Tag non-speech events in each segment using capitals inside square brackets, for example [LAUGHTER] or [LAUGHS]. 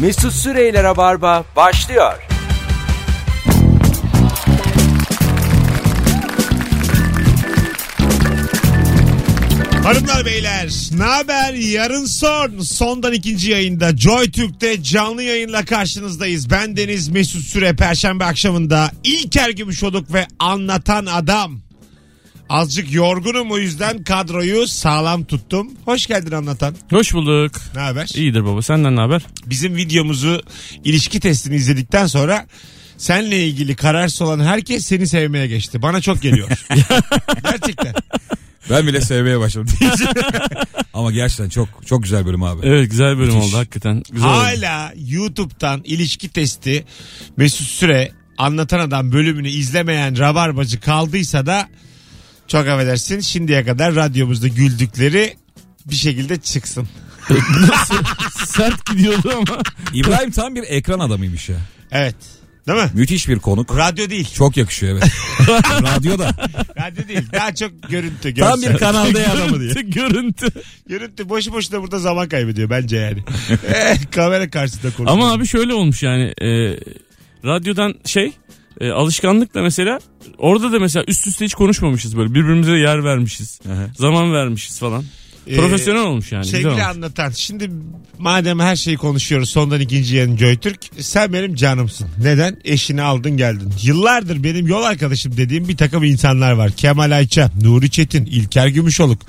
Mesut Süreyler'e barba başlıyor. Hanımlar beyler ne haber yarın son sondan ikinci yayında Joy Türk'te canlı yayınla karşınızdayız. Ben Deniz Mesut Süre Perşembe akşamında İlker Gümüşoluk ve Anlatan Adam. Azıcık yorgunum o yüzden kadroyu sağlam tuttum. Hoş geldin Anlatan. Hoş bulduk. Ne haber? İyidir baba senden ne haber? Bizim videomuzu ilişki testini izledikten sonra senle ilgili kararsız olan herkes seni sevmeye geçti. Bana çok [LAUGHS] geliyor. Gerçekten. Ben bile sevmeye başladım. [LAUGHS] Ama gerçekten çok çok güzel bölüm abi. Evet güzel bölüm Müthiş. oldu hakikaten. Güzel oldu. Hala YouTube'dan ilişki testi Mesut Süre anlatan adam bölümünü izlemeyen rabarbacı kaldıysa da çok affedersin şimdiye kadar radyomuzda güldükleri bir şekilde çıksın. [LAUGHS] Sert gidiyordu ama. İbrahim tam bir ekran adamıymış ya. Evet. Değil mi? Müthiş bir konuk. Radyo değil. Çok yakışıyor evet. [LAUGHS] Radyoda. Radyo değil. Daha çok görüntü. Tam Görsel. bir kanalda ya adamı diye. [LAUGHS] görüntü, görüntü. Görüntü boşu boşuna burada zaman kaybediyor bence yani. Eh, Kamera karşısında konuşuyor. Ama abi şöyle olmuş yani. e, radyodan şey e, alışkanlıkla mesela orada da mesela üst üste hiç konuşmamışız böyle birbirimize yer vermişiz. Zaman vermişiz falan. Ee, Profesyonel olmuş yani. güzel Sevgili olmuş. anlatan şimdi madem her şeyi konuşuyoruz sondan ikinci yayın Joytürk sen benim canımsın. Neden? Eşini aldın geldin. Yıllardır benim yol arkadaşım dediğim bir takım insanlar var. Kemal Ayça, Nuri Çetin, İlker Gümüşoluk.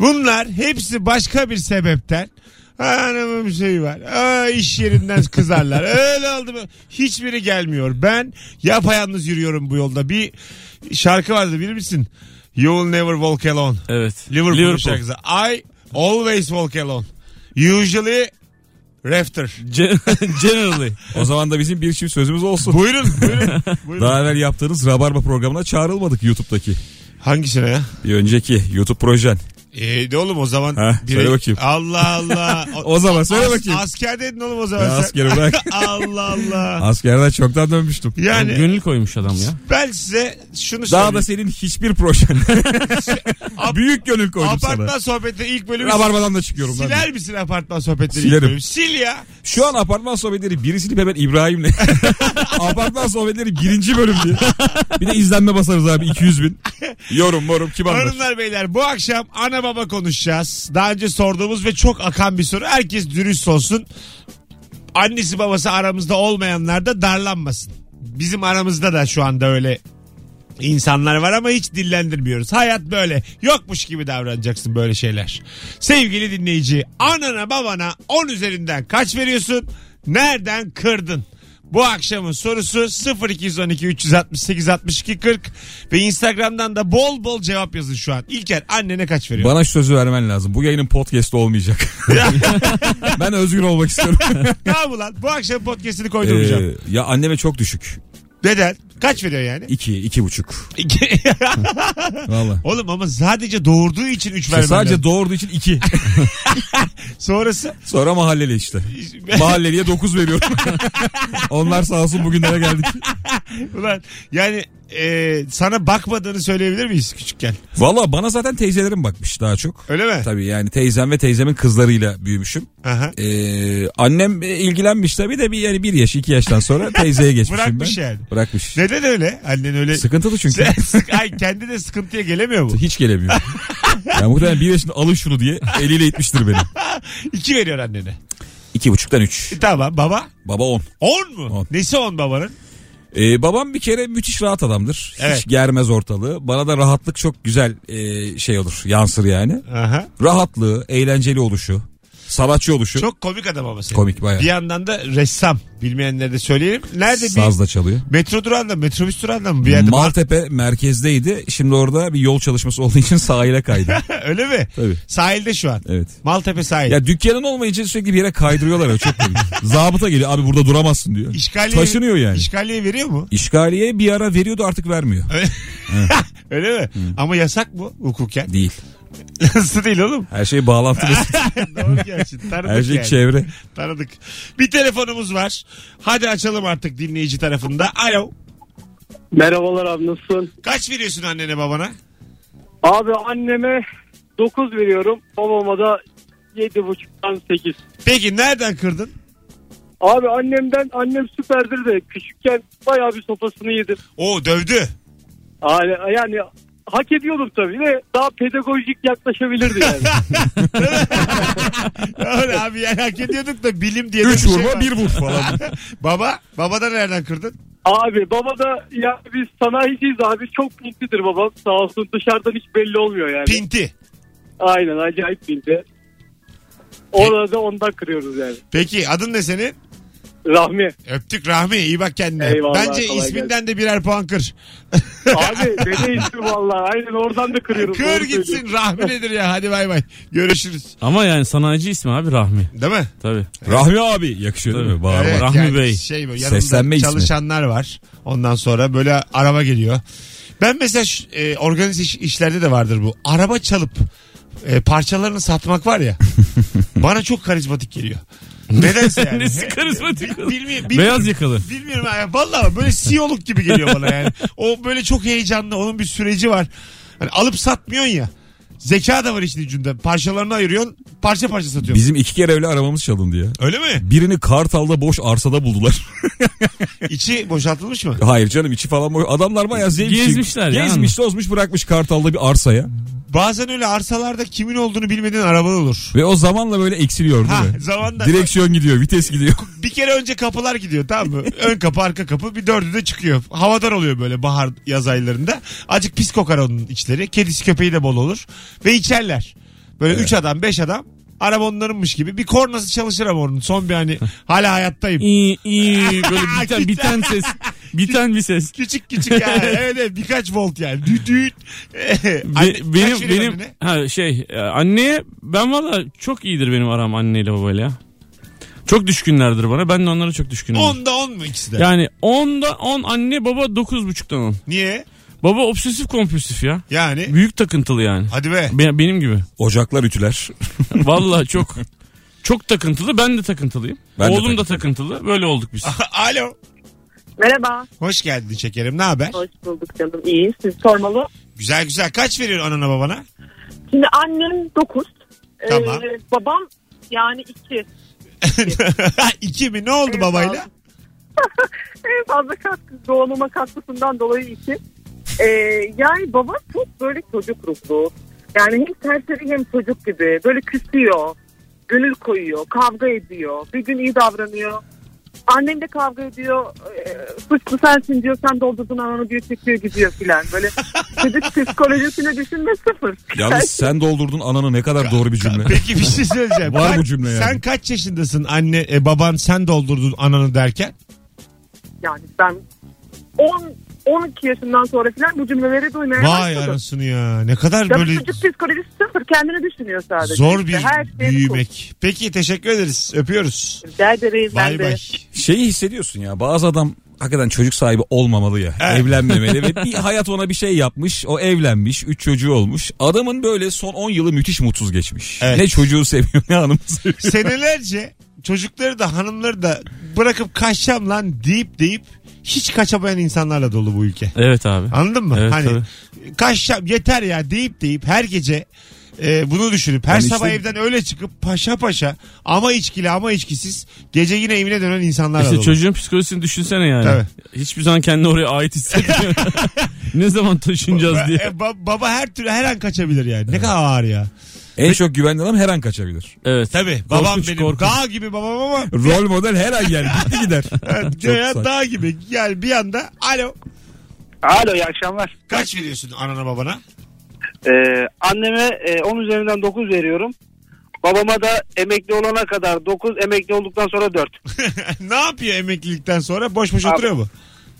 Bunlar hepsi başka bir sebepten Hanımım şey var. Aa, iş yerinden kızarlar. Öyle oldu. mu? Hiçbiri gelmiyor. Ben yapayalnız yürüyorum bu yolda. Bir şarkı vardı bilir misin? You will never walk alone. Evet. Liverpool, şey- şarkısı. I always walk alone. Usually rafter. Gen- [LAUGHS] Generally. O zaman da bizim bir çift sözümüz olsun. Buyurun buyurun. buyurun. Daha evvel yaptığınız Rabarba programına çağrılmadık YouTube'daki. [LAUGHS] Hangisine ya? Bir önceki YouTube projen. Ee, de oğlum o zaman. Ha, direkt- söyle bakayım. Allah Allah. [LAUGHS] O zaman söyle bakayım. Askerdeydin oğlum o zaman Ben sen. askeri bırak. [LAUGHS] Allah Allah. Askerden çoktan dönmüştüm. Yani Gönül koymuş adam ya. ben size şunu Daha söyleyeyim. da senin hiçbir projen. Büyük gönül koydum apartman sana. sohbeti ilk bölümü Rabarbadan da çıkıyorum. ben de. siler misin apartman sohbetleri ilk Silerim. bölümü? Sil ya. Şu an apartman sohbetleri birisini hemen İbrahim'le. [LAUGHS] apartman sohbetleri birinci bölüm diye. Bir de izlenme basarız abi 200 bin. Yorum morum kim anlar? Hanımlar beyler bu akşam ana baba konuşacağız. Daha önce sorduğumuz ve çok akan bir soru. Herkes dürüst olsun. Annesi babası aramızda olmayanlar da darlanmasın. Bizim aramızda da şu anda öyle insanlar var ama hiç dillendirmiyoruz. Hayat böyle. Yokmuş gibi davranacaksın böyle şeyler. Sevgili dinleyici, anana babana 10 üzerinden kaç veriyorsun? Nereden kırdın? Bu akşamın sorusu 0212 368 62 40 ve Instagram'dan da bol bol cevap yazın şu an. İlker annene kaç veriyor? Bana şu sözü vermen lazım. Bu yayının [LAUGHS] podcast'ı olmayacak. ben özgür olmak istiyorum. ne bu lan? Bu akşam podcast'ini koydurmayacağım. Ee, ya anneme çok düşük. Neden? Kaç veriyor [LAUGHS] yani? 2 iki buçuk. Valla. Oğlum ama sadece doğurduğu için 3 vermem sadece lazım. doğurduğu için 2. Sonrası Sonra mahalleli işte. Mahalleliye 9 veriyorum. [LAUGHS] Onlar sağ olsun bugünlere geldik. Ulan yani e, sana bakmadığını söyleyebilir miyiz küçükken? Valla bana zaten teyzelerim bakmış daha çok. Öyle mi? Tabii yani teyzem ve teyzemin kızlarıyla büyümüşüm. Aha. Ee, annem e, ilgilenmiş tabii de bir yani bir yaş iki yaştan [LAUGHS] sonra teyzeye geçmişim Bırakmış ben. yani. Bırakmış. Neden öyle? Annen öyle... [LAUGHS] Sıkıntılı çünkü. Ay kendi de sıkıntıya gelemiyor mu? Hiç gelemiyor. yani muhtemelen bir yaşında alın şunu diye eliyle itmiştir beni. İki veriyor annene. İki buçuktan üç. E, tamam baba. Baba on. On mu? On. Nesi on babanın? Ee, babam bir kere müthiş rahat adamdır. Hiç Evet. germez ortalığı. Bana da rahatlık çok güzel e, şey olur. Yansır yani. Aha. Rahatlığı, eğlenceli oluşu, sanatçı oluşu. Çok komik adam ama senin. Komik bayağı. Bir yandan da ressam. Bilmeyenlere de söyleyelim. Nerede Saz da çalıyor. bir metro durağında mı, metrobüs durağında mı? Bir yerde Maltepe merkezdeydi. Şimdi orada bir yol çalışması olduğu için [LAUGHS] sahile kaydı. [LAUGHS] öyle mi? Tabii. Sahilde şu an. Evet. Maltepe sahil. Ya dükkanın olmayınca sürekli bir yere kaydırıyorlar ya çok [LAUGHS] komik. Zabıta geliyor abi burada duramazsın diyor. İşgaliye, Taşınıyor yani. İşgaliye veriyor mu? İşgaliye bir ara veriyordu artık vermiyor. Öyle mi? Ama yasak bu hukuken. [LAUGHS] Değil. Nasıl değil oğlum? Her [LAUGHS] şey bağlantılı. Doğru gerçi. Tanıdık [LAUGHS] Her şey yani. çevre. Tanıdık. Bir telefonumuz var. Hadi açalım artık dinleyici tarafında. Alo. Merhabalar abi nasılsın? Kaç veriyorsun annene babana? Abi anneme 9 veriyorum. Babama da 7.5'dan 8. Peki nereden kırdın? Abi annemden annem süperdir de küçükken bayağı bir sopasını yedim. O dövdü. Yani, yani hak ediyordum tabii de daha pedagojik [LAUGHS] yaklaşabilirdi [LAUGHS] yani. Öyle abi yani hak ediyorduk da bilim diye de Üç bir şey vurma var. bir vur falan. [LAUGHS] Baba, babadan nereden kırdın? abi baba da ya biz sanayiciyiz abi çok pintidir babam sağ olsun dışarıdan hiç belli olmuyor yani. Pinti. Aynen acayip pinti. Orada da ondan kırıyoruz yani. Peki adın ne senin? Rahmi [LAUGHS] Öptük Rahmi iyi bak kendine. Eyvallah, Bence kolay isminden de birer puan kır. abi dede ismi valla aynen oradan da kırıyoruz. Kır Doğru söylüyorsun. gitsin Rahmi nedir ya hadi bay bay. Görüşürüz. Ama yani sanayici ismi abi Rahmi. Değil mi? Tabii. Rahmi abi yakışıyor değil mi? Bağırma. Evet. Rahmi Bey. Şey bu, Seslenme yanında ismi. çalışanlar var. Ondan sonra böyle araba geliyor. Ben mesela şu, e, organize iş- işlerde de vardır bu. Araba çalıp e, parçalarını satmak var [LAUGHS] ya. bana çok karizmatik geliyor. [LAUGHS] Nedense yani. Nesi karizmatik Bil- oğlum? bilmiyorum, Beyaz yakalı. Bilmiyorum ya. Valla böyle CEO'luk gibi geliyor bana yani. O böyle çok heyecanlı. Onun bir süreci var. Hani alıp satmıyorsun ya. Zeka da var işin ucunda. Parçalarını ayırıyorsun. Parça parça satıyorsun. Bizim iki kere öyle arabamız çalındı ya. Öyle mi? Birini Kartal'da boş arsada buldular. İçi boşaltılmış mı? [LAUGHS] Hayır canım içi falan boş. Adamlar bayağı zevk için- Gezmişler ya, Gezmiş tozmuş bırakmış Kartal'da bir arsaya. Bazen öyle arsalarda kimin olduğunu bilmediğin araba olur. Ve o zamanla böyle eksiliyor değil Ha mi? zamanda Direksiyon gidiyor, vites gidiyor. [LAUGHS] bir kere önce kapılar gidiyor tamam [LAUGHS] mı? Ön kapı arka kapı bir dördü de çıkıyor. Havadar oluyor böyle bahar yaz aylarında. Acık pis kokar onun içleri. Kedisi köpeği de bol olur. Ve içerler. Böyle üç adam beş adam. Araba onlarınmış gibi. Bir kornası çalışır ama onun. Son bir hani hala hayattayım. İyi [LAUGHS] iyi böyle biten, biten ses. Biten bir ses. Küçük küçük [LAUGHS] ya. Öyle birkaç volt yani. Düt düt. Anne- Be- benim kaç veriyor benim annene? ha, şey e, anneye ben valla çok iyidir benim aram anneyle babayla ya. Çok düşkünlerdir bana. Ben de onlara çok düşkünüm. Onda on mu ikisi de? Yani 10'da 10 anne baba 9.5'dan 10. Niye? Baba obsesif kompulsif ya. Yani. Büyük takıntılı yani. Hadi be. [LAUGHS] Be- benim gibi. Ocaklar ütüler. [LAUGHS] Valla çok çok takıntılı. Ben de takıntılıyım. Ben de Oğlum da takıntılı. Böyle olduk biz. Alo. Merhaba. Hoş geldin şekerim. Ne haber? Hoş bulduk canım. İyi. Siz sormalı. Güzel güzel. Kaç veriyorsun anana babana? [LAUGHS] Şimdi annem 9. Tamam. babam yani 2. İki mi? Ne oldu Evet, [LAUGHS] babayla? abi. En fazla katkı doğumuma katkısından dolayı 2. Ee, yani baba çok böyle çocuk ruhlu. Yani hem serseri hem çocuk gibi. Böyle küsüyor. Gönül koyuyor. Kavga ediyor. Bir gün iyi davranıyor. Annem de kavga ediyor. Ee, suçlu sensin diyor. Sen doldurdun ananı diyor. Çekiyor gidiyor filan. Böyle [LAUGHS] çocuk psikolojisini düşünme sıfır. Yalnız sen doldurdun ananı ne kadar doğru bir cümle. Peki bir şey söyleyeceğim. Var bu Kaç- cümle yani. Sen kaç yaşındasın anne e, baban sen doldurdun ananı derken? Yani ben 10 12 yaşından sonra falan bu cümleleri duymaya Vay başladım. anasını ya. Ne kadar Ya böyle çocuk psikolojisi sıfır kendini düşünüyor sadece. zor İşte bir her şeyini büyümek. Peki teşekkür ederiz. Öpüyoruz. konuşuyor. Rica ederim ben Bay de. [LAUGHS] bay. Şeyi hissediyorsun ya bazı adam hakikaten çocuk sahibi olmamalı ya. Evet. Evlenmemeli [LAUGHS] ve bir hayat ona bir şey yapmış. O evlenmiş, üç çocuğu olmuş. Adamın böyle son 10 yılı müthiş mutsuz geçmiş. Evet. Ne çocuğu seviyor ne hanımı seviyor. Senelerce çocukları da hanımları da bırakıp kaçacağım lan deyip deyip hiç kaçamayan insanlarla dolu bu ülke. Evet abi. Anladın mı? Evet, hani kaçacağım yeter ya deyip deyip her gece e, bunu düşünüp her Yani sabah işte- evden öyle çıkıp paşa paşa ama içkili ama içkisiz gece yine evine dönen insanlar İşte işte çocuğun psikolojisini düşünsene yani. Tabii. Hiçbir zaman kendini oraya ait hissetmiyor. ne zaman taşınacağız diye. e, baba her türlü her an kaçabilir yani. Ne kadar ağır ya. En çok güvenli adam her an kaçabilir. Evet. Tabii babam Korkunç, benim korkunç. dağ gibi babam [LAUGHS] ama Rol model her an yani gitti gider. evet, Çok ya saçma. dağ gibi. Yani bir anda alo Alo iyi akşamlar. kaç veriyorsun anana babana? Ee, anneme e, 10 üzerinden 9 veriyorum. Babama da emekli olana kadar 9, emekli olduktan sonra 4. [LAUGHS] ne yapıyor emeklilikten sonra? Boş boş Abi. oturuyor mu?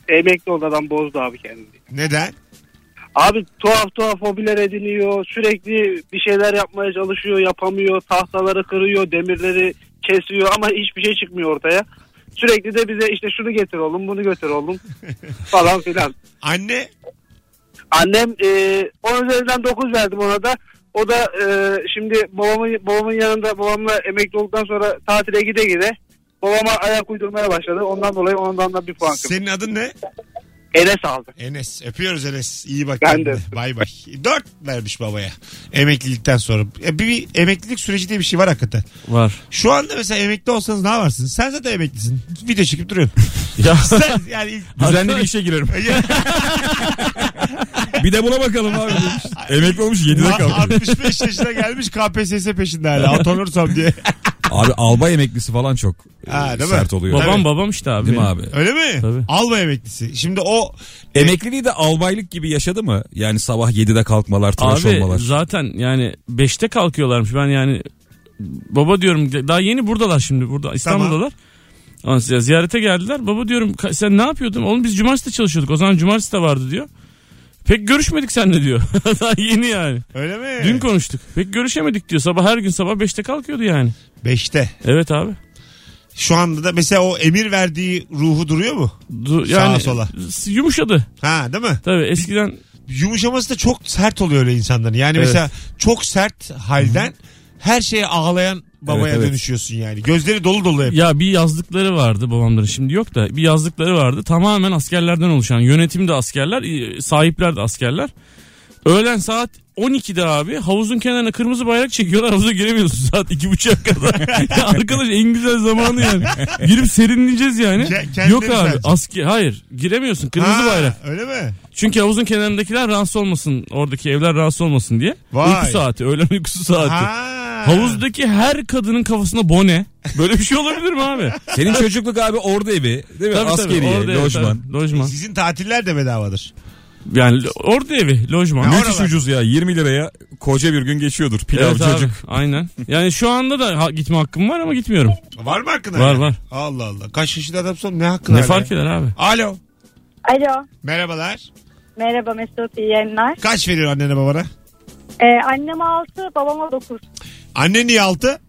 Emekli oldu adam bozdu abi kendini. Neden? Abi tuhaf tuhaf hobiler ediniyor. Sürekli bir şeyler yapmaya çalışıyor, yapamıyor. Tahtaları kırıyor, demirleri kesiyor ama hiçbir şey çıkmıyor ortaya. Sürekli de bize işte şunu getir oğlum, bunu götür oğlum falan filan. Anne Annem e, 10 üzerinden 9 verdim ona da. O da e, şimdi babamın, babamın yanında babamla emekli olduktan sonra tatile gide gide babama ayak uydurmaya başladı. Ondan dolayı ondan da bir puan kırdım. senin adın ne? Enes aldı. Enes. Öpüyoruz Enes. İyi bak. Ben de kendine. öptüm. Bay bay. Dört vermiş babaya. Emeklilikten sonra. E, bir, bir emeklilik süreci diye bir şey var hakikaten. Var. Şu anda mesela emekli olsanız ne yaparsınız? Sen zaten emeklisin. Video çekip duruyorsun. [LAUGHS] Ya. Sen yani ilk- [LAUGHS] Düzenli bir işe girerim. [LAUGHS] bir de buna bakalım abi demiş. [LAUGHS] Emekli olmuş 7'de Ulan kalmış. 65 yaşına gelmiş KPSS peşinde hala. Atanırsam diye. [LAUGHS] Abi albay emeklisi falan çok e, Ha, değil mi? sert oluyor. babam Tabii. babam işte abi. Değil mi benim. abi? Öyle mi? Tabii. Alma emeklisi. Şimdi o e, Emekliliği de albaylık gibi yaşadı mı? Yani sabah 7'de kalkmalar, tıraş Abi olmalar. zaten yani 5'te kalkıyorlarmış. Ben yani baba diyorum daha yeni buradalar şimdi burada İstanbul'dalar. Ondan sonra ziyarete geldiler. Baba diyorum "Ka- sen ne yapıyordun? Oğlum biz cumartesi de çalışıyorduk. O zaman cumartesi de vardı diyor. Pek görüşmedik seninle diyor. [LAUGHS] daha yeni yani. öyle mi? Dün konuştuk. Pek görüşemedik diyor. Sabah her gün sabah 5'te kalkıyordu yani. 5'te. Evet abi. Şu anda da mesela o emir verdiği ruhu duruyor mu? Du- Sağa yani sola. s- Yumuşadı. Ha değil mi? Tabii eskiden Yumuşaması da çok sert oluyor öyle insanların. Yani Evet. mesela çok sert halden her şeye ağlayan babaya Evet, evet. dönüşüyorsun yani. Gözleri dolu dolu hep. Ya bir yazlıkları vardı babamların şimdi yok da bir yazlıkları vardı tamamen askerlerden oluşan yönetim de askerler e, sahipler de askerler. Öğlen saat 12'de abi havuzun kenarına kırmızı bayrak çekiyorlar havuza giremiyorsun [LAUGHS] saat 2.30'a kadar. ya arkadaş en güzel zamanı yani. Girip serinleyeceğiz yani. Ke- kendileri yok abi sadece. asker hayır giremiyorsun kırmızı Ha, bayrak. Öyle mi? Çünkü havuzun kenarındakiler rahatsız olmasın oradaki evler rahatsız olmasın diye. Vay. Uyku saati öğlen uykusu saati. Ha. Havuzdaki her kadının kafasına bone. Böyle bir şey olabilir mi abi? Senin çocukluk abi orada evi. Değil mi? Tabii, tabii. Askeriye, Orada ev, lojman. tabii. lojman. Sizin tatiller de bedavadır. Yani lo- orada evi, lojman. Ya Müthiş Oralar. ucuz ya. 20 liraya koca bir gün geçiyordur. Pilav Evet abi, çocuk. Aynen. Yani şu anda da ha- gitme hakkım var ama gitmiyorum. Var mı hakkında? Var, yani? var. Allah Allah. Kaç yaşında adamsın ne hakkın Ne hala fark ya? eder abi? [LAUGHS] Alo. Alo. Merhabalar. Merhaba Mesut iyi yayınlar. Kaç veriyor annene babana? Ee, annem 6 babama 9. Annen niye altı?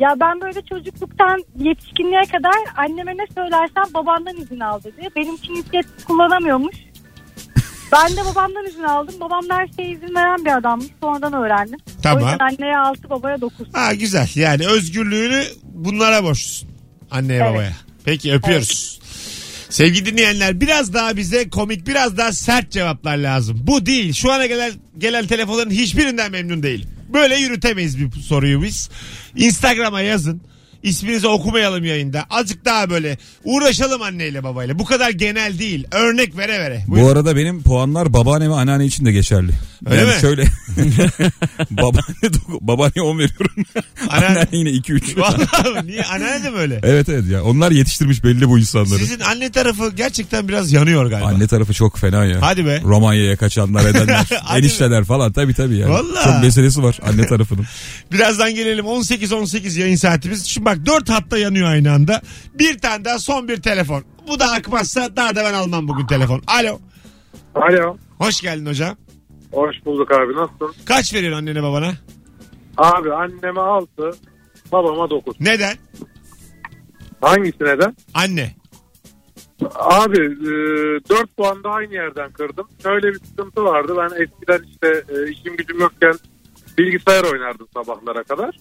Ya ben böyle çocukluktan yetişkinliğe kadar anneme ne söylersen babandan izin al dedi. Benim için hiç kullanamıyormuş. Ben de babamdan izin aldım. Babam her şeye izin veren bir adammış. Sonradan öğrendim. O Tamam. yüzden anneye 6 babaya 9. Ha güzel. Yani özgürlüğünü bunlara borçlusun. Anneye Evet. babaya. Peki öpüyoruz. Sevgili dinleyenler biraz daha bize komik biraz daha sert cevaplar lazım. Bu değil. Şu ana gelen, gelen telefonların hiçbirinden memnun değilim. Böyle yürütemeyiz bir soruyu biz. Instagram'a yazın. İsminizi okumayalım yayında. Azıcık daha böyle uğraşalım anneyle babayla. Bu kadar genel değil. Örnek vere vere. Buyurun. Bu arada benim puanlar babaanne ve anneanne için de geçerli. Öyle yani mi? [LAUGHS] şöyle babaanne, doku- babaanne [LAUGHS] 10 veriyorum. Ana- anneanne yine 2-3. Vallahi [LAUGHS] niye? Anneanne de böyle. evet evet ya onlar yetiştirmiş belli bu insanları. Sizin anne tarafı gerçekten biraz yanıyor galiba. Anne tarafı çok fena ya. Hadi be. [LAUGHS] Romanya'ya kaçanlar edenler, Hadi enişteler falan tabii tabii yani. Vallahi. Çok meselesi var anne tarafının. Birazdan gelelim 18-18 yayın saatimiz. Şimdi bak 4 hatta yanıyor aynı anda. Bir tane daha son bir telefon. Bu da akmazsa daha da ben almam bugün telefon. Alo. Alo. Hoş geldin hocam. Hoş bulduk abi nasılsın? Kaç veriyorsun annene babana? Abi anneme 6 babama 9. Neden? Hangisi neden? Anne. Abi e, 4 puan da aynı yerden kırdım. Şöyle bir sıkıntı vardı. Ben eskiden işte e, işim gücüm yokken bilgisayar oynardım sabahlara kadar.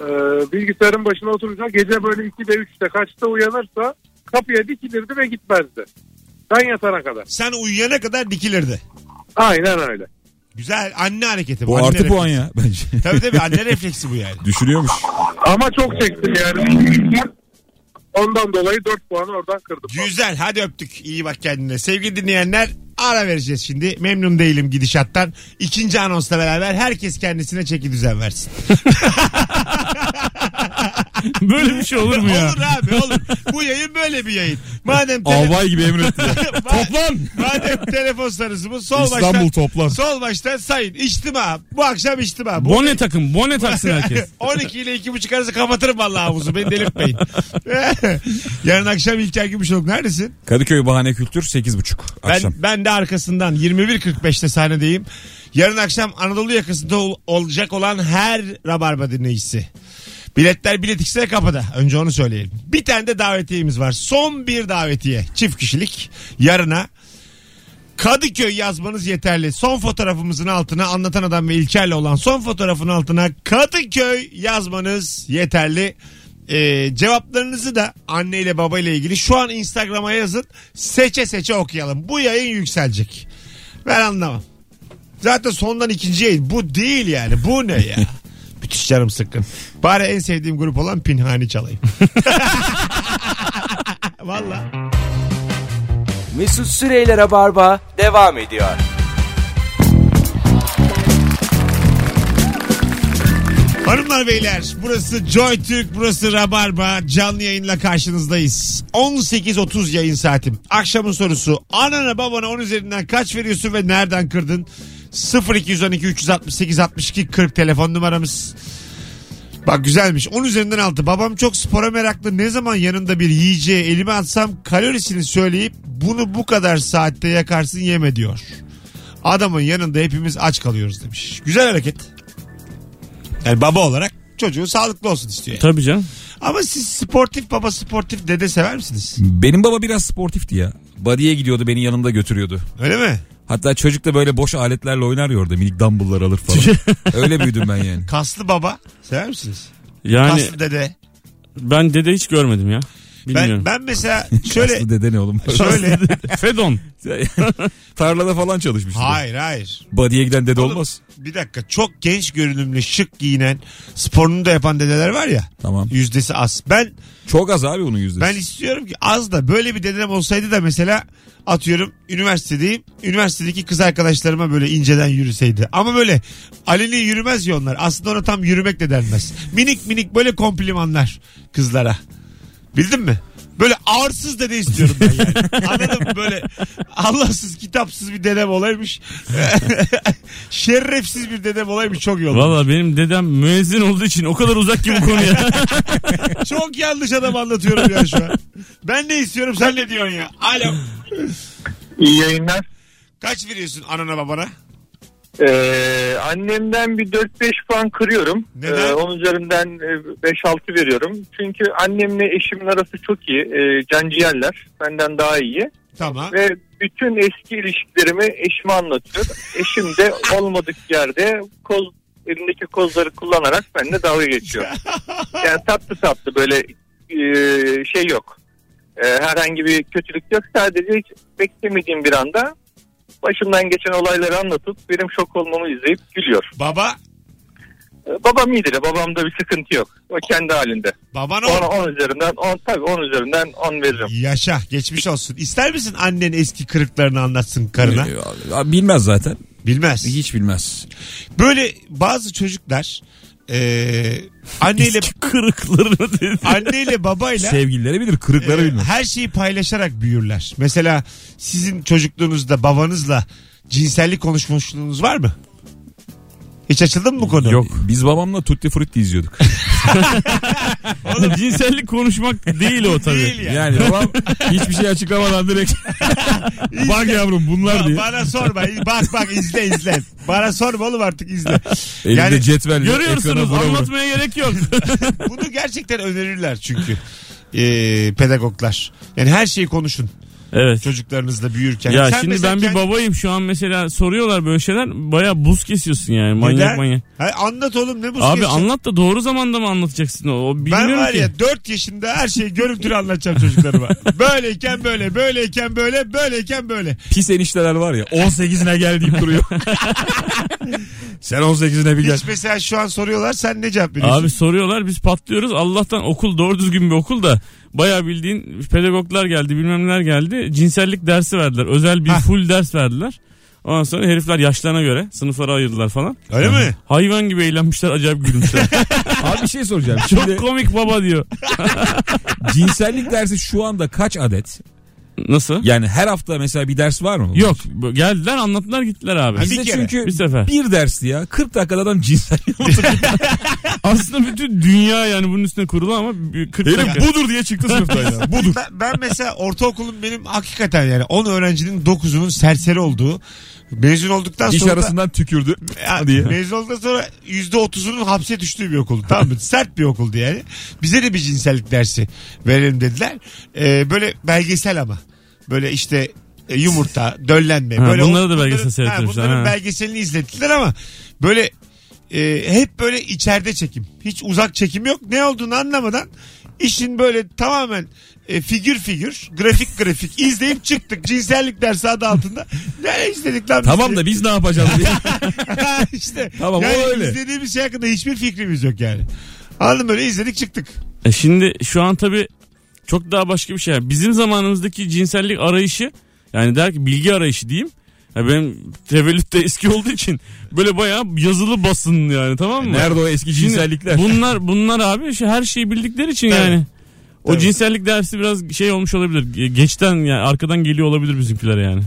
E, bilgisayarın başına oturunca gece böyle 2'de 3'te kaçta uyanırsa kapıya dikilirdi ve gitmezdi. Ben yatana kadar. Sen uyuyana kadar dikilirdi. Aynen öyle. Güzel anne hareketi. Bu anne artı refleksi. puan ya bence. Tabii tabii anne refleksi bu yani. [LAUGHS] Düşünüyormuş. Ama çok çektim yani. Ondan dolayı 4 puanı oradan kırdım. Güzel hadi öptük. İyi bak kendine. Sevgili dinleyenler ara vereceğiz şimdi. Memnun değilim gidişattan. İkinci anonsla beraber herkes kendisine çeki düzen versin. [LAUGHS] Böyle bir şey olur mu ya? Olur abi olur. Bu yayın böyle bir yayın. Madem tele- Albay gibi emretti. Ma- Toplan. Madem telefon sarısımız sol baştan İstanbul toplan. sol baştan sayın. İçtima. Bu akşam içtima. Bu... Bone takın, bone taksın herkes. 12 ile 2.30 arası kapatırım vallahi havuzu. Beni [LAUGHS] delirtmeyin. [LAUGHS] Yarın akşam İlker Gümüşoluk neredesin? Kadıköy Bahane Kültür 8.30 akşam. Ben ben de arkasından 21.45'te sahnedeyim. Yarın akşam Anadolu yakasında ol- olacak olan her Rabarba dinleyicisi. Biletler bilet X'e kapıda. Önce onu söyleyelim. Bir tane de davetiyemiz var. Son bir davetiye. Çift kişilik. Yarına Kadıköy yazmanız yeterli. Son fotoğrafımızın altına anlatan adam ve İlker'le olan son fotoğrafın altına Kadıköy yazmanız yeterli. Ee, cevaplarınızı da anneyle babayla ilgili şu an Instagram'a yazın. Seçe seçe okuyalım. Bu yayın yükselecek. Ben anlamam. Zaten sondan ikinci yayın. Bu değil yani. Bu ne ya? [LAUGHS] Müthiş canım sıkkın. Bari en sevdiğim grup olan Pinhani [LAUGHS] çalayım. Valla. Mesut Süreyler'e barba devam ediyor. Hanımlar beyler burası Joy Türk burası Rabarba canlı yayınla karşınızdayız. 18.30 yayın saatim. Akşamın sorusu anana babana 10 üzerinden kaç veriyorsun ve nereden kırdın? 0212 368 62 40 telefon numaramız. Bak güzelmiş. 10 üzerinden 6. Babam çok spora meraklı. Ne zaman yanında bir yiyeceği elime atsam kalorisini söyleyip bunu bu kadar saatte yakarsın yeme diyor. Adamın yanında hepimiz aç kalıyoruz demiş. Güzel hareket. Yani baba olarak çocuğu sağlıklı olsun istiyor. yani. Tabii canım. Ama siz sportif baba sportif dede sever misiniz? Benim baba biraz sportifti ya. Body'ye gidiyordu beni yanında götürüyordu. Öyle mi? Hatta çocuk da böyle boş aletlerle oynar ya orada minik dumbbell'lar alır [LAUGHS] falan. Öyle büyüdüm ben yani. Kaslı baba sever misiniz? Yani Kaslı dede. ben dede hiç görmedim ya. Bilmiyorum. Ben, ben mesela şöyle Kaslı dede ne oğlum? şöyle [LAUGHS] Fedon. Tarlada falan çalışmıştı. hayır hayır. Body'ye giden dede Oğlum, olmaz. Bir dakika çok genç görünümlü şık giyinen sporunu da yapan dedeler var ya. Tamam. Yüzdesi az. Ben Çok az abi onun yüzdesi. ben istiyorum ki az da böyle bir dedem olsaydı da mesela atıyorum üniversitedeyim. Üniversitedeki kız arkadaşlarıma böyle inceden yürüseydi. Ama böyle aleni yürümez ya onlar. Aslında ona tam yürümek de denmez. Minik minik böyle komplimanlar kızlara. Bildin mi? Böyle ağırsız dede istiyorum ben yani. Anladın mı? Böyle Allahsız kitapsız bir dedem olaymış. [LAUGHS] Şerefsiz bir dedem olaymış çok iyi olmuş. Valla benim dedem müezzin olduğu için o kadar uzak ki bu konuya. Çok yanlış adam anlatıyorum ya şu an. Ben ne istiyorum sen ne diyorsun ya? Alo. İyi yayınlar. Kaç veriyorsun anana babana? Ee, annemden bir 4-5 puan kırıyorum. Neden? Ee, onun üzerinden e, 5-6 veriyorum. Çünkü annemle eşimin arası çok iyi. Ee, canciğerler. Benden daha iyi. Tamam. Ve bütün eski ilişkilerimi eşime anlatıyor. Eşim de olmadık yerde koz elindeki kozları kullanarak benimle dalga geçiyor. Yani tatlı tatlı böyle e, şey yok. E, herhangi bir kötülük yok. Sadece hiç beklemediğim bir anda başımdan geçen olayları anlatıp benim şok olmamı izleyip gülüyor. Baba, E, babam iyidir. ya, Babamda bir sıkıntı yok. O kendi halinde. baban Ona o. 10 üzerinden 10 tabii 10 üzerinden 10 veririm. Yaşa, geçmiş olsun. İster misin annen eski kırıklarını anlatsın karına? Ee, Bilmez zaten. Bilmez. Hiç bilmez. Böyle bazı çocuklar e, anneyle Kırıklarını dedi. anneyle babayla [LAUGHS] Sevgilileri bilir kırıkları e, bilmez. her şeyi paylaşarak büyürler. Mesela sizin çocukluğunuzda babanızla cinsellik konuşmuşluğunuz var mı? Hiç açıldın mı bu konu? Yok. Biz babamla Tutti [LAUGHS] Frutti izliyorduk. Oğlum cinsellik konuşmak değil o tabii. Değil ya. Yani babam [LAUGHS] hiçbir şey açıklamadan direkt bak yavrum bunlar Ba- diye. Bana sorma. Bak bak izle izle. Bana sorma oğlum artık izle. Elinde Yani- cetvelle ekrana Görüyorsunuz vura vura. anlatmaya gerek yok. Bunu gerçekten önerirler çünkü. Ee, pedagoglar. Yani her şeyi konuşun evet. çocuklarınızla büyürken. Ya Sen şimdi mesela ben bir kendi- babayım şu an mesela soruyorlar böyle şeyler baya buz kesiyorsun yani manyak Neden? manyak. Ha, anlat oğlum ne bu Abi skeç? anlat da doğru zamanda mı anlatacaksın o, o bilmiyorum Ben var ki. ya 4 yaşında her şeyi görüntülü anlatacağım [LAUGHS] çocuklarıma. böyleyken böyle, böyleyken böyle, böyleyken böyle. Pis enişteler var ya 18'ine gel deyip duruyor. [LAUGHS] Sen 18'ine bir gel. Hiç mesela şu an soruyorlar sen ne cevap veriyorsun? Abi soruyorlar biz patlıyoruz Allah'tan okul doğru düzgün bir okul da baya bildiğin pedagoglar geldi bilmem neler geldi cinsellik dersi verdiler özel bir Hah. full ders verdiler. Ondan sonra herifler yaşlarına göre sınıflara ayırdılar falan. Öyle [LAUGHS] mi? Hayvan gibi eğlenmişler acayip gülmüşler. Abi bir şey soracağım. Şimdi Çok komik baba diyor. cinsellik dersi şu anda kaç adet? Nasıl? Yani her hafta mesela bir ders var mı? Yok bu- geldiler anlattılar gittiler abi. Ha, Bizde Bir kere. çünkü Bir sefer. bir dersti ya. 40 dakikada adam cinsellik anlatıyor. Aslında bütün dünya yani bunun üstüne kurulu ama bir 40 dakika. [LAUGHS] budur diye çıktı sınıftan [LAUGHS] ya. Budur. Ben, ben mesela ortaokulun benim hakikaten yani 10 öğrencinin 9'unun serseri olduğu mezun olduktan Diş sonra da- arasından tükürdü. Ya, diye. Mezun olduktan sonra %30'unun hapse düştüğü bir okuldu. Tamam mı? Sert bir okuldu yani. Bize de bir cinsellik dersi verelim dediler. Ee, böyle belgesel ama. Böyle işte e, yumurta, döllenme. Ha, böyle bunları da o- belgesel bunların- ha, seyrettirmişler, Bunların ha. belgeselini izlettiler ama böyle e, hep böyle içeride çekim. Hiç uzak çekim yok. Ne olduğunu anlamadan İşin böyle tamamen e, figür figür, grafik grafik izleyip çıktık. Cinsellik dersi adı altında. Ne izledik lan biz? Tamam da biz ne yapacağız [LAUGHS] diye. [LAUGHS] işte. Tamam, o yani öyle. İzlediğimiz şey hakkında hiçbir fikrimiz yok yani. Anladın mı? böyle izledik çıktık. E şimdi şu an tabii çok daha başka bir şey. Bizim zamanımızdaki cinsellik arayışı yani der ki bilgi arayışı diyeyim. Ya benim tevellüt de eski olduğu için böyle bayağı yazılı basın yani tamam mı? Nerede o eski Şimdi cinsellikler? Bunlar bunlar abi şu her şeyi bildikleri için Tabii. yani. O Tabii. cinsellik dersi biraz şey olmuş olabilir. Ge- Geçten yani arkadan geliyor olabilir bizimkiler yani.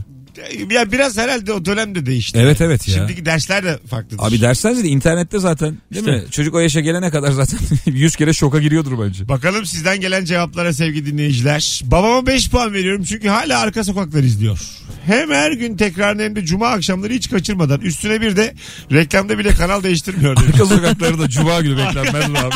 Ya biraz herhalde o dönemde değişti. Evet evet ya. Şimdiki dersler de farklıdır. Abi derslerse de internette zaten değil İşte. mi? Çocuk o yaşa gelene kadar zaten [LAUGHS] 100 kere şoka giriyordur bence. Bakalım sizden gelen cevaplara sevgili dinleyiciler. Babama 5 puan veriyorum çünkü hala arka sokaklar izliyor. Hem her gün tekrarını hem de cuma akşamları hiç kaçırmadan. Üstüne bir de reklamda bile kanal değiştirmiyor. [LAUGHS] demiş. Arka sokakları da cuma günü beklenmez mi abi?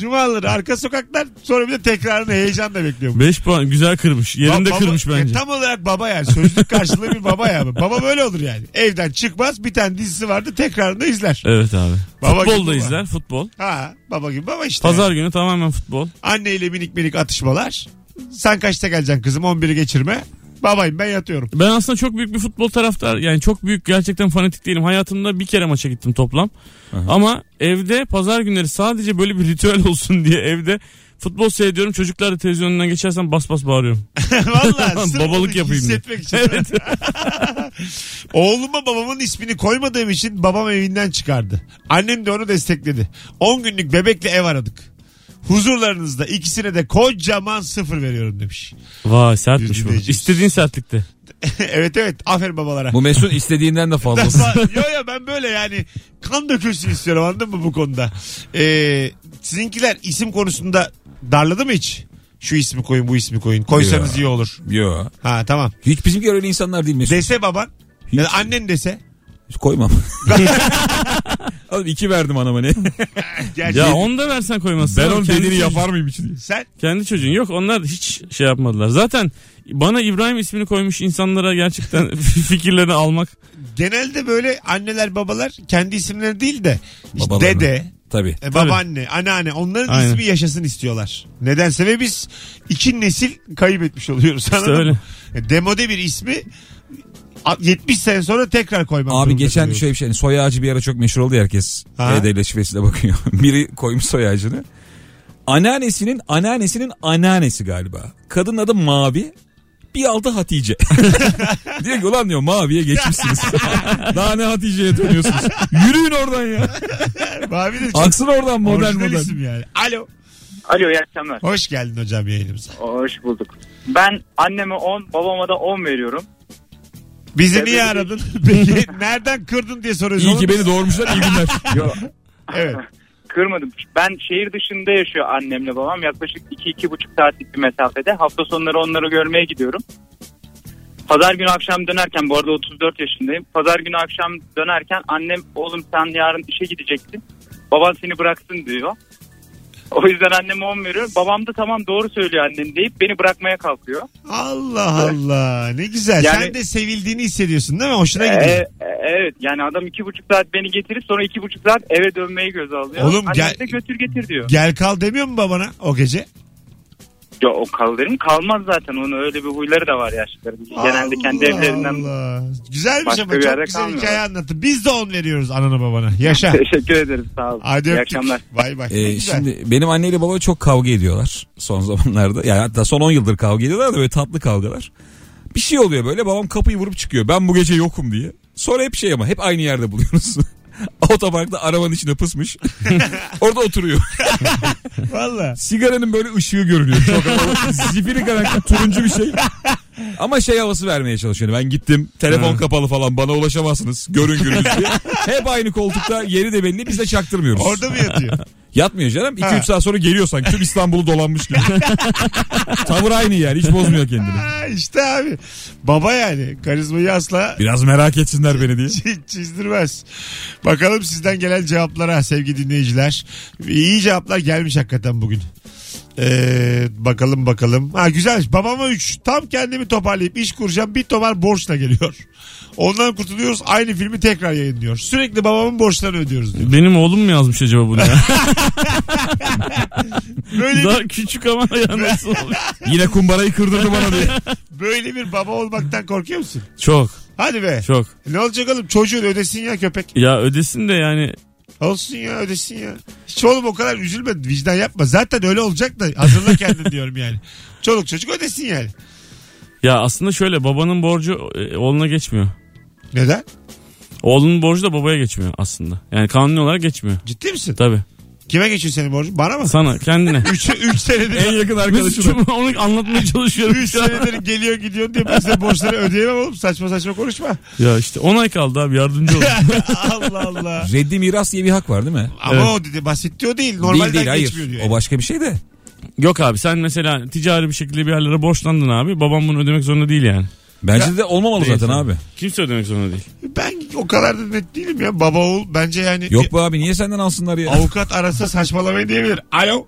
Cumaları arka sokaklar sonra bir de tekrarını heyecanla bekliyor. 5 puan güzel kırmış. Yerinde Ba- baba- kırmış bence. Ya tam olarak baba yani. Sözlük karşılığı bir baba ya. Baba böyle olur yani. Evden çıkmaz bir tane dizisi vardı tekrarını izler. Evet abi. Baba gibi futbol da baba. izler futbol. Ha baba gibi baba işte. Pazar günü tamamen futbol. Anneyle minik minik atışmalar. Sen kaçta geleceksin kızım 11'i geçirme. Babayım ben yatıyorum. [LAUGHS] Ben aslında çok büyük bir futbol taraftar yani çok büyük gerçekten fanatik değilim. Hayatımda bir kere maça gittim toplam. Ama evde pazar günleri sadece böyle bir ritüel [LAUGHS] olsun diye evde futbol seyrediyorum. Çocuklar da televizyon önünden geçersen bas bas bağırıyorum. [LAUGHS] Valla sırf Babalık bunu yapayım diye. Hissetmek için. [LAUGHS] Oğluma babamın ismini koymadığım için babam evinden çıkardı. Annem de onu destekledi. 10 günlük bebekle ev aradık. Huzurlarınızda ikisine de kocaman sıfır veriyorum demiş. Vay sertmiş Yüzde bu. yüz. İstediğin sertlikte. [LAUGHS] evet evet aferin babalara. [LAUGHS] Bu Mesut istediğinden de fazlası. Ba- yo yo ben böyle yani kan dökülsün istiyorum anladın mı bu konuda? Ee, sizinkiler isim konusunda darladı mı hiç? Şu ismi koyun bu ismi koyun. Koysanız Ya. iyi olur. Yo. Ha tamam. Hiç bizimkiler öyle insanlar değil Mesut. Dese baban. Ya da annen dese. [LAUGHS] Hiç koymam. Oğlum iki verdim anama ne? Gerçi Ya onu da versen koymazsın. Ben Abi onun kendi dediğini çocuğun- yapar mıyım hiç diye. sen Kendi çocuğun yok onlar hiç şey yapmadılar. Zaten bana İbrahim ismini koymuş insanlara gerçekten [LAUGHS] fikirlerini almak. genelde böyle anneler babalar kendi isimleri değil de işte Babalarını. dede, Tabii. e, babaanne, anneanne onların Aynen. ismi yaşasın istiyorlar. Nedense ve biz iki nesil kaybetmiş oluyoruz. anladın öyle. mı? E, Demode bir ismi a- 70 sene sonra tekrar koymak Abi zorunda geçen kalıyoruz. şöyle bir şey. Soy ağacı bir ara çok meşhur oldu ya herkes. Ha. Dedeyle şifresine bakıyor. [LAUGHS] Biri koymuş soy ağacını. Anneannesinin anneannesinin anneannesi galiba. Kadın adı Mavi. Bir altı Hatice. [LAUGHS] diyor ki ulan diyor Mavi'ye geçmişsiniz. [LAUGHS] Daha ne Hatice'ye dönüyorsunuz. Yürüyün oradan ya. Abi [LAUGHS] de çok Aksın oradan modern orijinal modern. isim yani. Alo. Alo iyi akşamlar. Hoş geldin hocam yayınımıza. Hoş bulduk. Ben anneme 10, babama da 10 veriyorum. Bizi Evet. niye aradın? [LAUGHS] Peki nereden kırdın diye soruyorsun. İyi ki beni doğurmuşlar iyi günler. Evet. Kırmadım. Ben şehir dışında yaşıyor annemle babam. Yaklaşık 2-2,5 saatlik bir mesafede. Hafta sonları onları görmeye gidiyorum. Pazar günü akşam dönerken bu arada 34 yaşındayım. Pazar günü akşam dönerken annem oğlum sen yarın işe gideceksin. Baban seni bıraksın diyor. O yüzden anneme 10 veriyorum. Babam da tamam doğru söylüyor annen deyip beni bırakmaya kalkıyor. Allah Allah ne güzel. Yani- Sen de sevildiğini hissediyorsun değil mi? Hoşuna gidiyor. Ee, evet yani adam iki buçuk saat beni getirir sonra iki buçuk saat eve dönmeyi göz alıyor. Oğlum Annem gel- de götür getir diyor. Gel kal demiyor mu babana o gece? Ya o kalırım kalmaz zaten onun öyle bir huyları da var yaşlıların. Genelde kendi Allah evlerinden. [LAUGHS] Allah. Güzelmiş Başka ama bir çok yerde güzel kalmıyor. hikaye anlattın. Biz de on veriyoruz anana babana. [LAUGHS] Yaşa. Teşekkür ederim sağ olun. Hadi İyi öptük. akşamlar. Bay bay. Ne Ee, güzel. şimdi benim anneyle baba çok kavga ediyorlar son [LAUGHS] zamanlarda. Yani hatta son 10 yıldır kavga ediyorlar da böyle tatlı kavgalar. Bir şey oluyor böyle babam kapıyı vurup çıkıyor. Ben bu gece yokum diye. Sonra hep şey ama hep aynı yerde buluyoruz. [LAUGHS] Otoparkta arabanın içine pısmış. [LAUGHS] Orada oturuyor. Valla. Sigaranın böyle ışığı görünüyor. Çok havalı. [LAUGHS] Zifiri karanlık turuncu bir şey. Ama şey havası vermeye çalışıyor. Ben gittim telefon kapalı falan bana ulaşamazsınız. Görün gürünüz [LAUGHS] diye. Hep aynı koltukta yeri de belli biz de çaktırmıyoruz. Orada mı [LAUGHS] yatıyor? Yatmıyor canım. Ha. 2-3 saat sonra geliyor sanki. Tüm İstanbul'u [LAUGHS] dolanmış gibi. Tavır aynı yani. Hiç bozmuyor kendini. Aa, işte abi. Baba yani. Karizmayı asla Biraz merak etsinler beni diye. çi- çizdirmez. Bakalım sizden gelen cevaplara sevgili dinleyiciler. İyi cevaplar gelmiş hakikaten bugün. Ee, bakalım bakalım. Ha güzelmiş. Babama 3. Tam kendimi toparlayıp iş kuracağım. Bir tomar borçla geliyor. Ondan kurtuluyoruz aynı filmi tekrar yayınlıyor. Sürekli babamın borçlarını ödüyoruz diyor. Benim oğlum mu yazmış acaba bunu [LAUGHS] ya? Böyle bir, Daha küçük ama ya nasıl oluyor? Yine kumbarayı kırdırdı bana diye. böyle bir baba olmaktan korkuyor musun? Çok Hadi be. çok. Ne olacak oğlum çocuğun ödesin ya köpek. Ya ödesin de yani Olsun ya ödesin ya. Hiç oğlum o kadar üzülme vicdan yapma. Zaten öyle olacak da hazırla [LAUGHS] kendini diyorum yani. Çoluk çocuk ödesin yani. ya aslında şöyle babanın borcu e, oğluna geçmiyor. Neden? Oğlunun borcu da babaya geçmiyor aslında. Yani kanuni olarak geçmiyor. Ciddi misin? Tabii. Kime geçiyor senin borcun? Bana mı? Sana [LAUGHS] kendine. 3 üç senedir en yakın şey- arkadaşım. Mesut'cum onu anlatmaya çalışıyorum. 3 şu an. senedir geliyor gidiyorsun diye ben size borçları ödeyemem oğlum. Saçma saçma konuşma. Ya işte 10 ay kaldı abi yardımcı [LAUGHS] ol. Allah Allah. Reddi miras diye bir hak var değil mi? Ama Evet. o dedi basit diyor değil. Normalden değil değil geçmiyor hayır. diyor. O başka bir şey de. Yok abi sen mesela ticari bir şekilde bir yerlere borçlandın abi. Babam bunu ödemek zorunda değil yani. Bence de olmamalı Değil zaten tabii. abi. Kimse ödemek zorunda [LAUGHS] değil. Ben o kadar da net değilim ya. Baba oğul bence yani Yok be abi niye senden alsınlar ya? avukat arasa saçmalamayın diyebilir. Alo.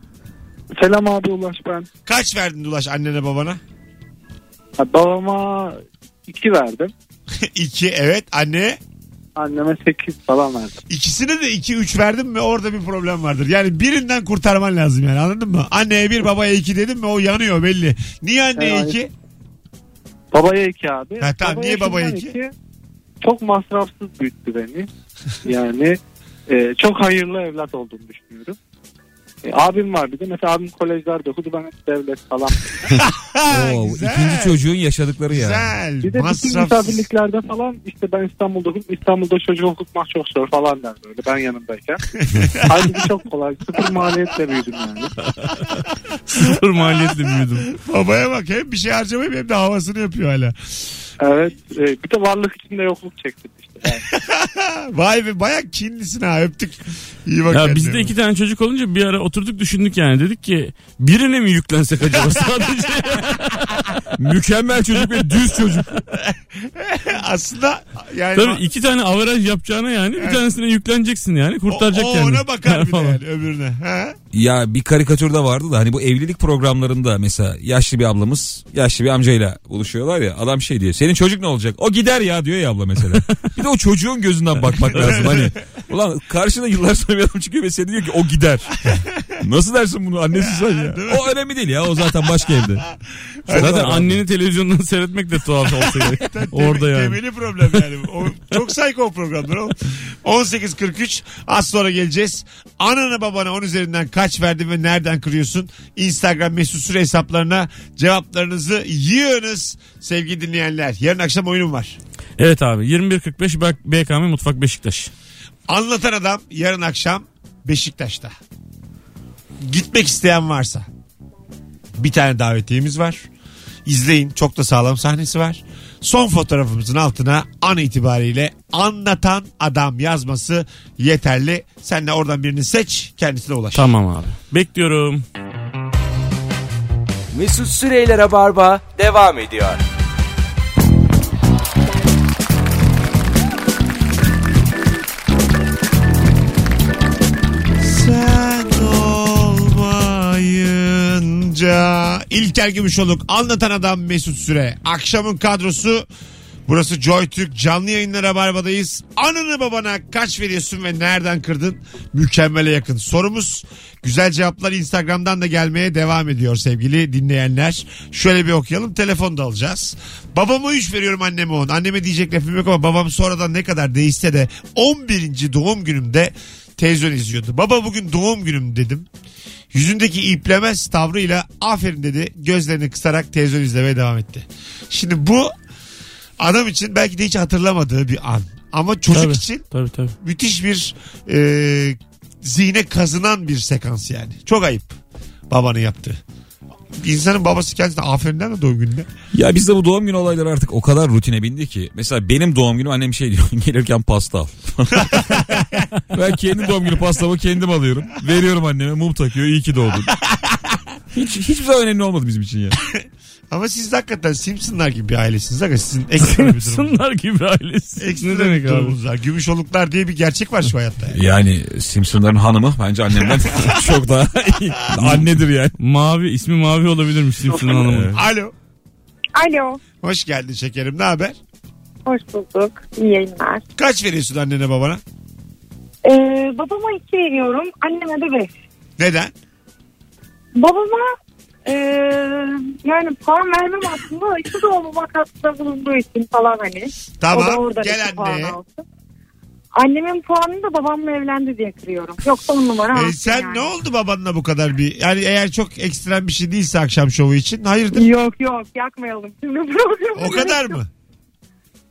Selam abi Ulaş ben. Kaç verdin Ulaş annene babana? [LAUGHS] Ha, Babama 2 verdim. 2 evet anneye. Anneme 8 falan verdim. İkisine de 2 3 verdim mi orada bir problem vardır. Yani birinden kurtarman lazım yani anladın mı? Anneye 1 babaya 2 dedim mi o yanıyor belli. Niye anneye Evet. 2? Babaya 2 abi. Ha, tamam, niye babaya şundan iki? Çok masrafsız [LAUGHS] büyüttü beni. Yani e, çok hayırlı evlat olduğumu düşünüyorum. E, abim var bir de. Mesela abim kolejlerde okudu. Ben hep devlet falan. Oo, ikinci çocuğun yaşadıkları ya. Güzel. Bir de bütün Masrafsız. misafirliklerde falan işte ben İstanbul'da okudum. İstanbul'da çocuğu okutmak çok zor falan der böyle [LAUGHS] ben yanındayken. Halbuki çok kolay. Sıfır maliyetle büyüdüm yani. Sıfır maliyetle büyüdüm. Babaya bak hem bir şey harcamayıp hem de havasını yapıyor hala. Evet. e, bir de varlık içinde yokluk çektim işte. Yani. Vay be baya kinlisin ha öptük. İyi bak Ya kendine. bizde iki tane çocuk olunca bir ara oturduk düşündük yani. Dedik ki birine mi yüklensek [LAUGHS] acaba sadece? Mükemmel çocuk ve düz çocuk. Aslında yani Tabii iki tane averaj yapacağına yani bir tanesine yükleneceksin yani kurtaracak o, o kendini. ona bakar bir de [LAUGHS] Falan. yani öbürüne. Ha? Ya bir karikatür de vardı da hani bu evlilik programlarında mesela yaşlı bir ablamız yaşlı bir amcayla buluşuyorlar ya adam şey diyor senin çocuk ne olacak o gider ya diyor ya abla mesela. bir de o çocuğun gözünden bakmak lazım hani. Ulan karşına yıllar sonra bir adam çıkıyor ve seni diyor ki o gider. Nasıl dersin bunu annesi sen ya. O önemli değil ya o zaten [LAUGHS] başka evde. Zaten anneni televizyondan seyretmek de tuhaf [LAUGHS] olsa gerek. Tem- Orada yani. Temeli problem yani. O, çok psycho programlar o. 18.43 az sonra geleceğiz. Anana babana 10 üzerinden kaç verdin ve nereden kırıyorsun? Instagram mesut süre hesaplarına cevaplarınızı yığınız sevgili dinleyenler. Yarın akşam oyunum var. Evet abi 21.45 Bak- BKM Mutfak Beşiktaş. Anlatan Adam yarın akşam Beşiktaş'ta. Gitmek isteyen varsa bir tane davetiyemiz var. İzleyin çok da sağlam sahnesi var. Son fotoğrafımızın altına an itibariyle anlatan adam yazması yeterli. Sen de oradan birini seç kendisine ulaş. Tamam abi. Bekliyorum. Mesut Süreyler'e barba devam ediyor. Sen olmayınca İlker Gümüşoluk anlatan adam Mesut Süre. Akşamın kadrosu burası Joy Türk canlı yayınlara barbadayız. Anını babana kaç veriyorsun ve nereden kırdın? Mükemmele yakın sorumuz. Güzel cevaplar Instagram'dan da gelmeye devam ediyor sevgili dinleyenler. Şöyle bir okuyalım telefon da alacağız. Babama 3 veriyorum anneme 10. Anneme diyecek lafım yok ama babam sonradan ne kadar değişse de 11. doğum günümde televizyon izliyordu. Baba bugün doğum günüm dedim. Yüzündeki iplemez tavrıyla aferin dedi. Gözlerini kısarak televizyon izlemeye devam etti. Şimdi bu adam için belki de hiç hatırlamadığı bir an. Ama çocuk Tabii. için Tabii tabii. müthiş bir e, zihne kazınan bir sekans yani. Çok ayıp babanın yaptığı. İnsanın babası kendisine aferin der mi doğum gününde? Ya bizde bu doğum günü olayları artık o kadar rutine bindi ki. Mesela benim doğum günüm annem şey diyor [LAUGHS] gelirken pasta al. [LAUGHS] ben kendi doğum günü pastamı kendim alıyorum. Veriyorum anneme mum takıyor iyi ki [LAUGHS] doğdun. Hiç, hiçbir zaman önemli olmadı bizim için ya. Ama siz de hakikaten Simpsonlar gibi bir ailesiniz. Aga sizin ekstra bir durumunuz. Sımlar gibi ailesi. Ekstra Ne demek bir abi? durumunuz var. Gümüşoluklar diye bir gerçek var şu hayatta. Yani. Yani Simpsonların hanımı bence [LAUGHS] annemden [LAUGHS] çok daha iyi. Annedir yani. Mavi ismi mavi olabilir mi Simpson Hanım'ın? Alo. Alo. Hoş geldin şekerim. Ne haber? Hoş bulduk. İyi yayınlar. Kaç veriyorsun annene babana? Ee, babama iki veriyorum. Anneme de beş. Neden? Babama ee, yani puan vermem aslında. da İşte de olmama katkıda bulunduğu için falan hani. o da Tamam oradan gel iki puan anne. alsın. Annemin puanını da babamla evlendi diye kırıyorum. Yoksa on numara Ee, alsın sen yani. ne oldu babanla bu kadar bir? Yani eğer çok ekstrem bir şey değilse akşam şovu için hayırdır? Yok yok yakmayalım. Şimdi [LAUGHS] programı O kadar mı?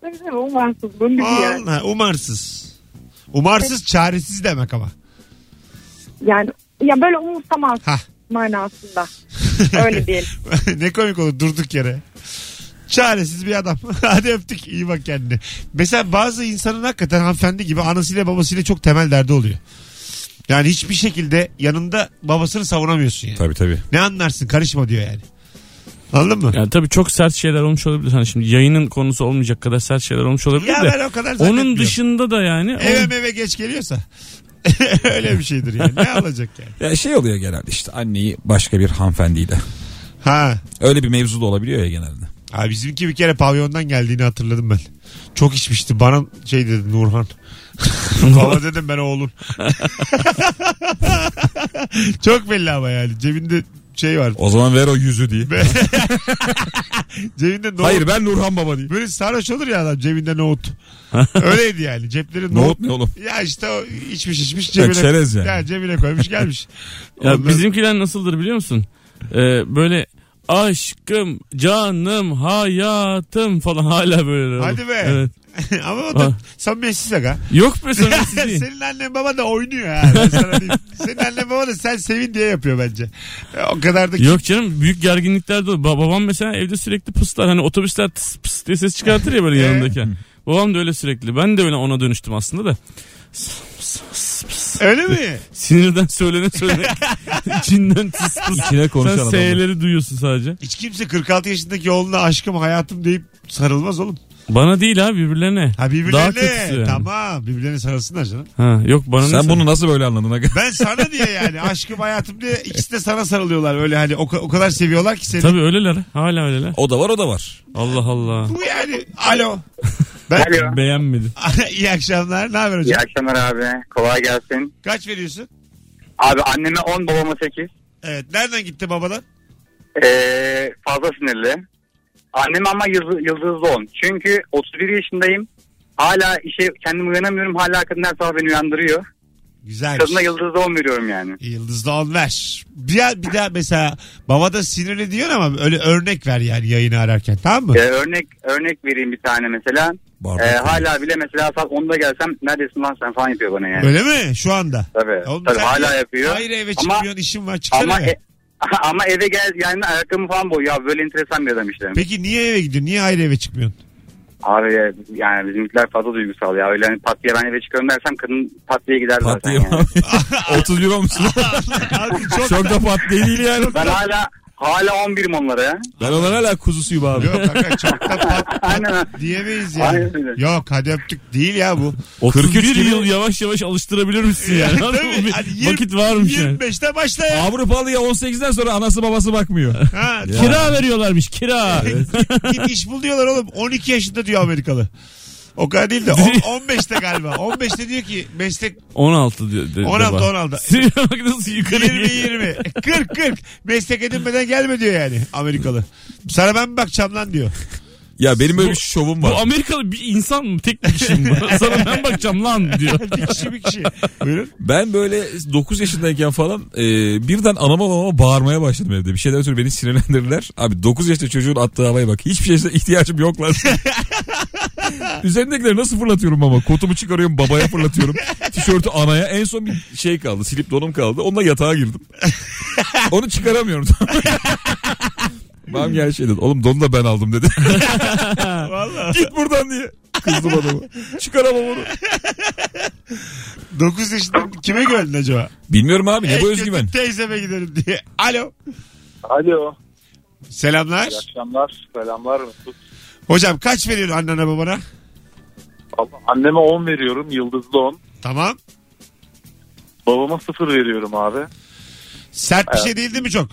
Tabii tabii, Umarsız bunun gibi yani. Allah, umarsız. Umarsız çaresiz demek ama. Yani ya böyle umursamaz Hah. manasında. [LAUGHS] Öyle diyelim. ne komik olur durduk yere. Çaresiz bir adam. [LAUGHS] Hadi öptük. iyi bak kendine. Mesela bazı insanın hakikaten hanımefendi gibi anasıyla babasıyla çok temel derdi oluyor. Yani hiçbir şekilde yanında babasını savunamıyorsun yani. Tabii tabii. Ne anlarsın karışma diyor yani. Anladın mı? Yani tabii çok sert şeyler olmuş olabilir. Hani şimdi yayının konusu olmayacak kadar sert şeyler olmuş olabilir Ya de. ben o kadar zannetmiyorum. Onun dışında da yani. Eve meve geç geliyorsa. [LAUGHS] Öyle bir şeydir yani. Ne alacak yani? Ya şey oluyor genelde işte anneyi başka bir hanımefendiyle. Ha. Öyle bir mevzu da olabiliyor ya genelde. Abi bizimki bir kere pavyondan geldiğini hatırladım ben. Çok içmişti. Bana şey dedi Nurhan. [LAUGHS] Baba dedim ben oğlum. [LAUGHS] Çok belli ama yani. Cebinde şey var. O zaman ver o yüzü diye. Cebinde nohut. Hayır ben Nurhan Baba diyeyim. Böyle sarhoş olur ya adam cebinde nohut. Öyleydi yani. Cepleri nohut. Nohut ne oğlum? Ya işte o içmiş içmiş Ya cebine. çerez yani. Ya cebine koymuş gelmiş. Ya Ondan- bizimkiler nasıldır biliyor musun? Ee, böyle aşkım, canım, hayatım falan hala böyle. Hadi be. Evet. [LAUGHS] ama o da Ha. samimiyetsiz [LAUGHS] aga. Yok [LAUGHS] be sana siz değil. Senin annen baban da oynuyor ha. Ben sana diyeyim. Senin annen baban da sen sevin diye yapıyor bence. E, O kadar da Yok canım büyük gerginlikler de olur. Ba- babam mesela evde sürekli pıslar. Hani otobüsler tıs pıs diye ses çıkartır ya böyle Ee? yanındayken. Babam da öyle sürekli. Ben de öyle ona dönüştüm aslında da. Öyle mi? Sinirden söylene söylene. [LAUGHS] içinden tıs pıs. İçine konuşan Sen adam. S'leri duyuyorsun sadece. Hiç kimse 46 yaşındaki oğluna aşkım hayatım deyip sarılmaz oğlum. Bana değil abi birbirlerine. Ha Daha birbirlerine. kötüsü yani. Tamam birbirlerine sarılsınlar canım. Ha, yok bana ne Sen bunu nasıl böyle anladın? aga? Ben sana diye yani aşkım hayatım diye ikisi de sana sarılıyorlar. Öyle hani o, ka- o kadar seviyorlar ki seni. Tabii öyleler. Hala öyleler. O da var o da var. Allah Allah. Bu yani alo. Ben, [LAUGHS] Alo. Beğenmedi. iyi akşamlar. Ne haber hocam? İyi akşamlar abi. Kolay gelsin. Kaç veriyorsun? Abi anneme 10 babama 8. Evet. Nereden gitti babadan? Ee, fazla sinirli. Annem ama yıldız, yıldızlı on. Çünkü 31 yaşındayım. Hala işe kendim uyanamıyorum. Hala kadın her sabah beni uyandırıyor. Güzel. Kadına yıldızlı on veriyorum yani. Yıldızlı on ver. Bir, bir daha mesela baba da sinirli diyor ama öyle örnek ver yani yayını ararken tamam mı? [LAUGHS] Ee, örnek örnek vereyim bir tane mesela. Bardak Ee, yani. hala bile mesela saat 10'da gelsem neredesin lan sen falan yapıyor bana yani. Öyle mi? Şu anda. Tabii. Oğlum Tabii sen hala de- yapıyor. Hayır eve Ama- çıkmıyorsun işim var çıksana Ama eve. e- [LAUGHS] ama eve gel yani ayakkabımı falan boyuyor. Ya böyle enteresan bir adam işte. Peki niye eve gidiyorsun? Niye ayrı eve çıkmıyorsun? Abi e, yani bizimkiler fazla duygusal ya. Öyle hani pat diye ben eve çıkıyorum dersem kadın pat diye gider Pat zaten. diye yani. abi. [LAUGHS] 31 olmuşsun. Abi [LAUGHS] çok... Çok da pat diye değil yani. Ben hala hala 11'im [LAUGHS] onlara ya. Ben onlara hala kuzusuyum abi. Yok kanka çok da pat, Aynen. pat diyemeyiz yani. Aynen öyle. Yok hadi öptük değil ya bu. 41 gibi- yıl yavaş yavaş alıştırabilir misin yani? Yani [LAUGHS] tabii, Bir hani yirmi- Vakit varmış yani. 25'te başla ya. Avrupalıya 18'den sonra anası babası bakmıyor. Ha, [LAUGHS] Kira veriyorlarmış kira. git iş bul diyorlar oğlum. 12 yaşında diyor Amerikalı. O kadar değil de on- 15'te galiba. 15'te diyor ki meslek 16 diyor. de- 16, baba. 16. Sinir bak nasıl yukarı 20 geliyor. 20 40 40 meslek edinmeden gelme diyor yani Amerikalı. Sana ben mi bakacağım lan diyor. Ya benim böyle bir şovum Bu var. Amerikalı bir insan mı? Tek bir kişi mi? [LAUGHS] bu? Sana ben bakacağım lan diyor. Bir kişi bir kişi. Buyurun. Ben böyle 9 yaşındayken falan e, birden anama babama bağırmaya başladım evde. Bir şeyden ötürü beni sinirlendirdiler. Abi 9 yaşında çocuğun attığı havaya bak. Hiçbir şeye ihtiyacım yok lan. Üzerindekileri nasıl fırlatıyorum ama. Kotumu çıkarıyorum babaya fırlatıyorum. Tişörtü anaya. En son bir şey kaldı. Slip donum kaldı. Onunla yatağa girdim. Onu çıkaramıyorum. [LAUGHS] Babam gel şey dedi. Oğlum donu da ben aldım dedi. [LAUGHS] Vallahi. Git buradan diye. Kızdım adama. Çıkaramam onu. 9 yaşında kime güvendin acaba? Bilmiyorum abi ne En bu kötü özgüven. Teyzeme gidelim diye. Alo. Alo. Selamlar. akşamlar. Selamlar. Mesut. Hocam kaç veriyorsun annene babana? Vallahi Anneme 10 veriyorum. Yıldızlı 10. Tamam. Babama 0 veriyorum abi. [LAUGHS] Sert bir şey değildi mi çok?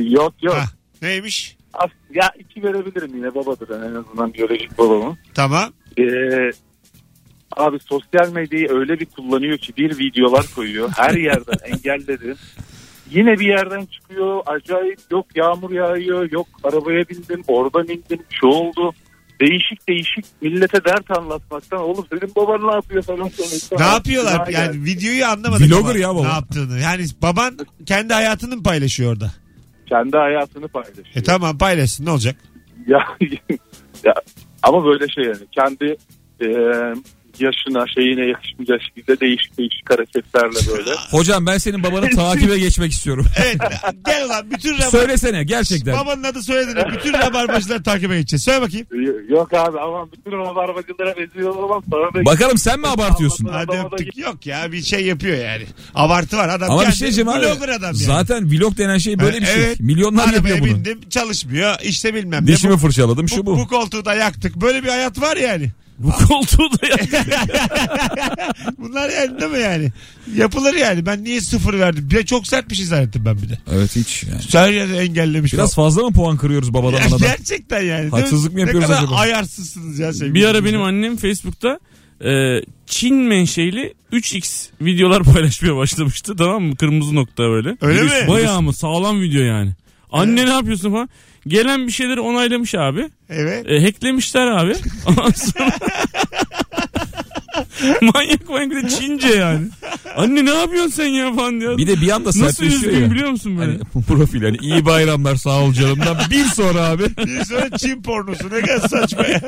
yok yok. Ha, neymiş? As- Ya iki verebilirim yine babadır yani en azından biyolojik babamın. Tamam. Ee, abi sosyal medyayı öyle bir kullanıyor ki bir videolar koyuyor. Her yerden engelledim. Yine bir yerden çıkıyor acayip yok yağmur yağıyor yok arabaya bindim oradan indim şu oldu. Değişik değişik millete dert anlatmaktan oğlum senin baban ne yapıyor falan. sonuçta. Ne yapıyorlar? Daha geldi. Yani videoyu anlamadık. Vlogger ama ya baba. Ne yaptığını. Yani baban kendi hayatını mı paylaşıyor orada? Kendi hayatını paylaşıyor. E tamam paylaşsın ne olacak? ya, [LAUGHS] ya ama böyle şey yani kendi e, yaşına şeyine yakışmayacak şekilde değişik değişik hareketlerle böyle. [LAUGHS] Hocam ben senin babanı takibe geçmek istiyorum. Evet gel ulan bütün rabar... Söylesene gerçekten. Babanın adı soyadını bütün rabarbacılar takibe edeceğiz. Söyle bakayım. Yok abi ama bütün o barbacılara benziyor olamam. Sana da Bakalım sen mi abartıyorsun? Hadi öptük. Yok ya bir şey yapıyor yani. Abartı var adam. Ama bir kendi şey diyeceğim abi. Blogger adam yani. Zaten vlog denen şey böyle bir şey. Evet. Milyonlar Arabaya yapıyor bunu. bindim çalışmıyor işte bilmem ne. Dişimi Bu- fırçaladım bu, şu bu bu. koltuğu da yaktık. Böyle bir hayat var yani. Bu koltuğu da ya. [LAUGHS] [LAUGHS] Bunlar yani değil mi yani? Yapılır yani. Ben niye sıfır verdim? Bir de çok sert bir şey zannettim ben bir de. Evet hiç yani. Sadece engellemiş. Biraz falan. fazla mı puan kırıyoruz babadan Ya anadan? Gerçekten yani. değil mi? Haksızlık mı yapıyoruz ne kadar acaba? ayarsızsınız ya sevgili. Bir ara dinleyiciler. benim annem Facebook'ta e, Çin menşeli 3x videolar paylaşmaya başlamıştı tamam mı? Kırmızı nokta böyle. Öyle Virüs mi? Bayağı mı sağlam video yani. Anne ne yapıyorsun falan. Gelen bir şeyleri onaylamış abi. Evet. E, hacklemişler abi. [LAUGHS] Ondan sonra... [LAUGHS] manyak manyak bir de Çince yani. Anne ne yapıyorsun sen ya falan diyor. Bir de bir anda Nasıl sertleşiyor üzgün ya. biliyor musun böyle? Hani profil hani iyi bayramlar sağ ol canımdan bir sonra abi. Bir sonra Çin pornosu ne kadar saçma ya.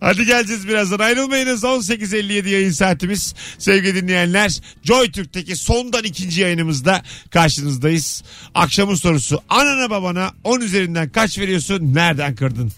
Hadi geleceğiz birazdan ayrılmayınız 18.57 yayın saatimiz sevgili dinleyenler Joy Türk'teki sondan ikinci yayınımızda karşınızdayız akşamın sorusu anana babana 10 üzerinden kaç veriyorsun nereden kırdın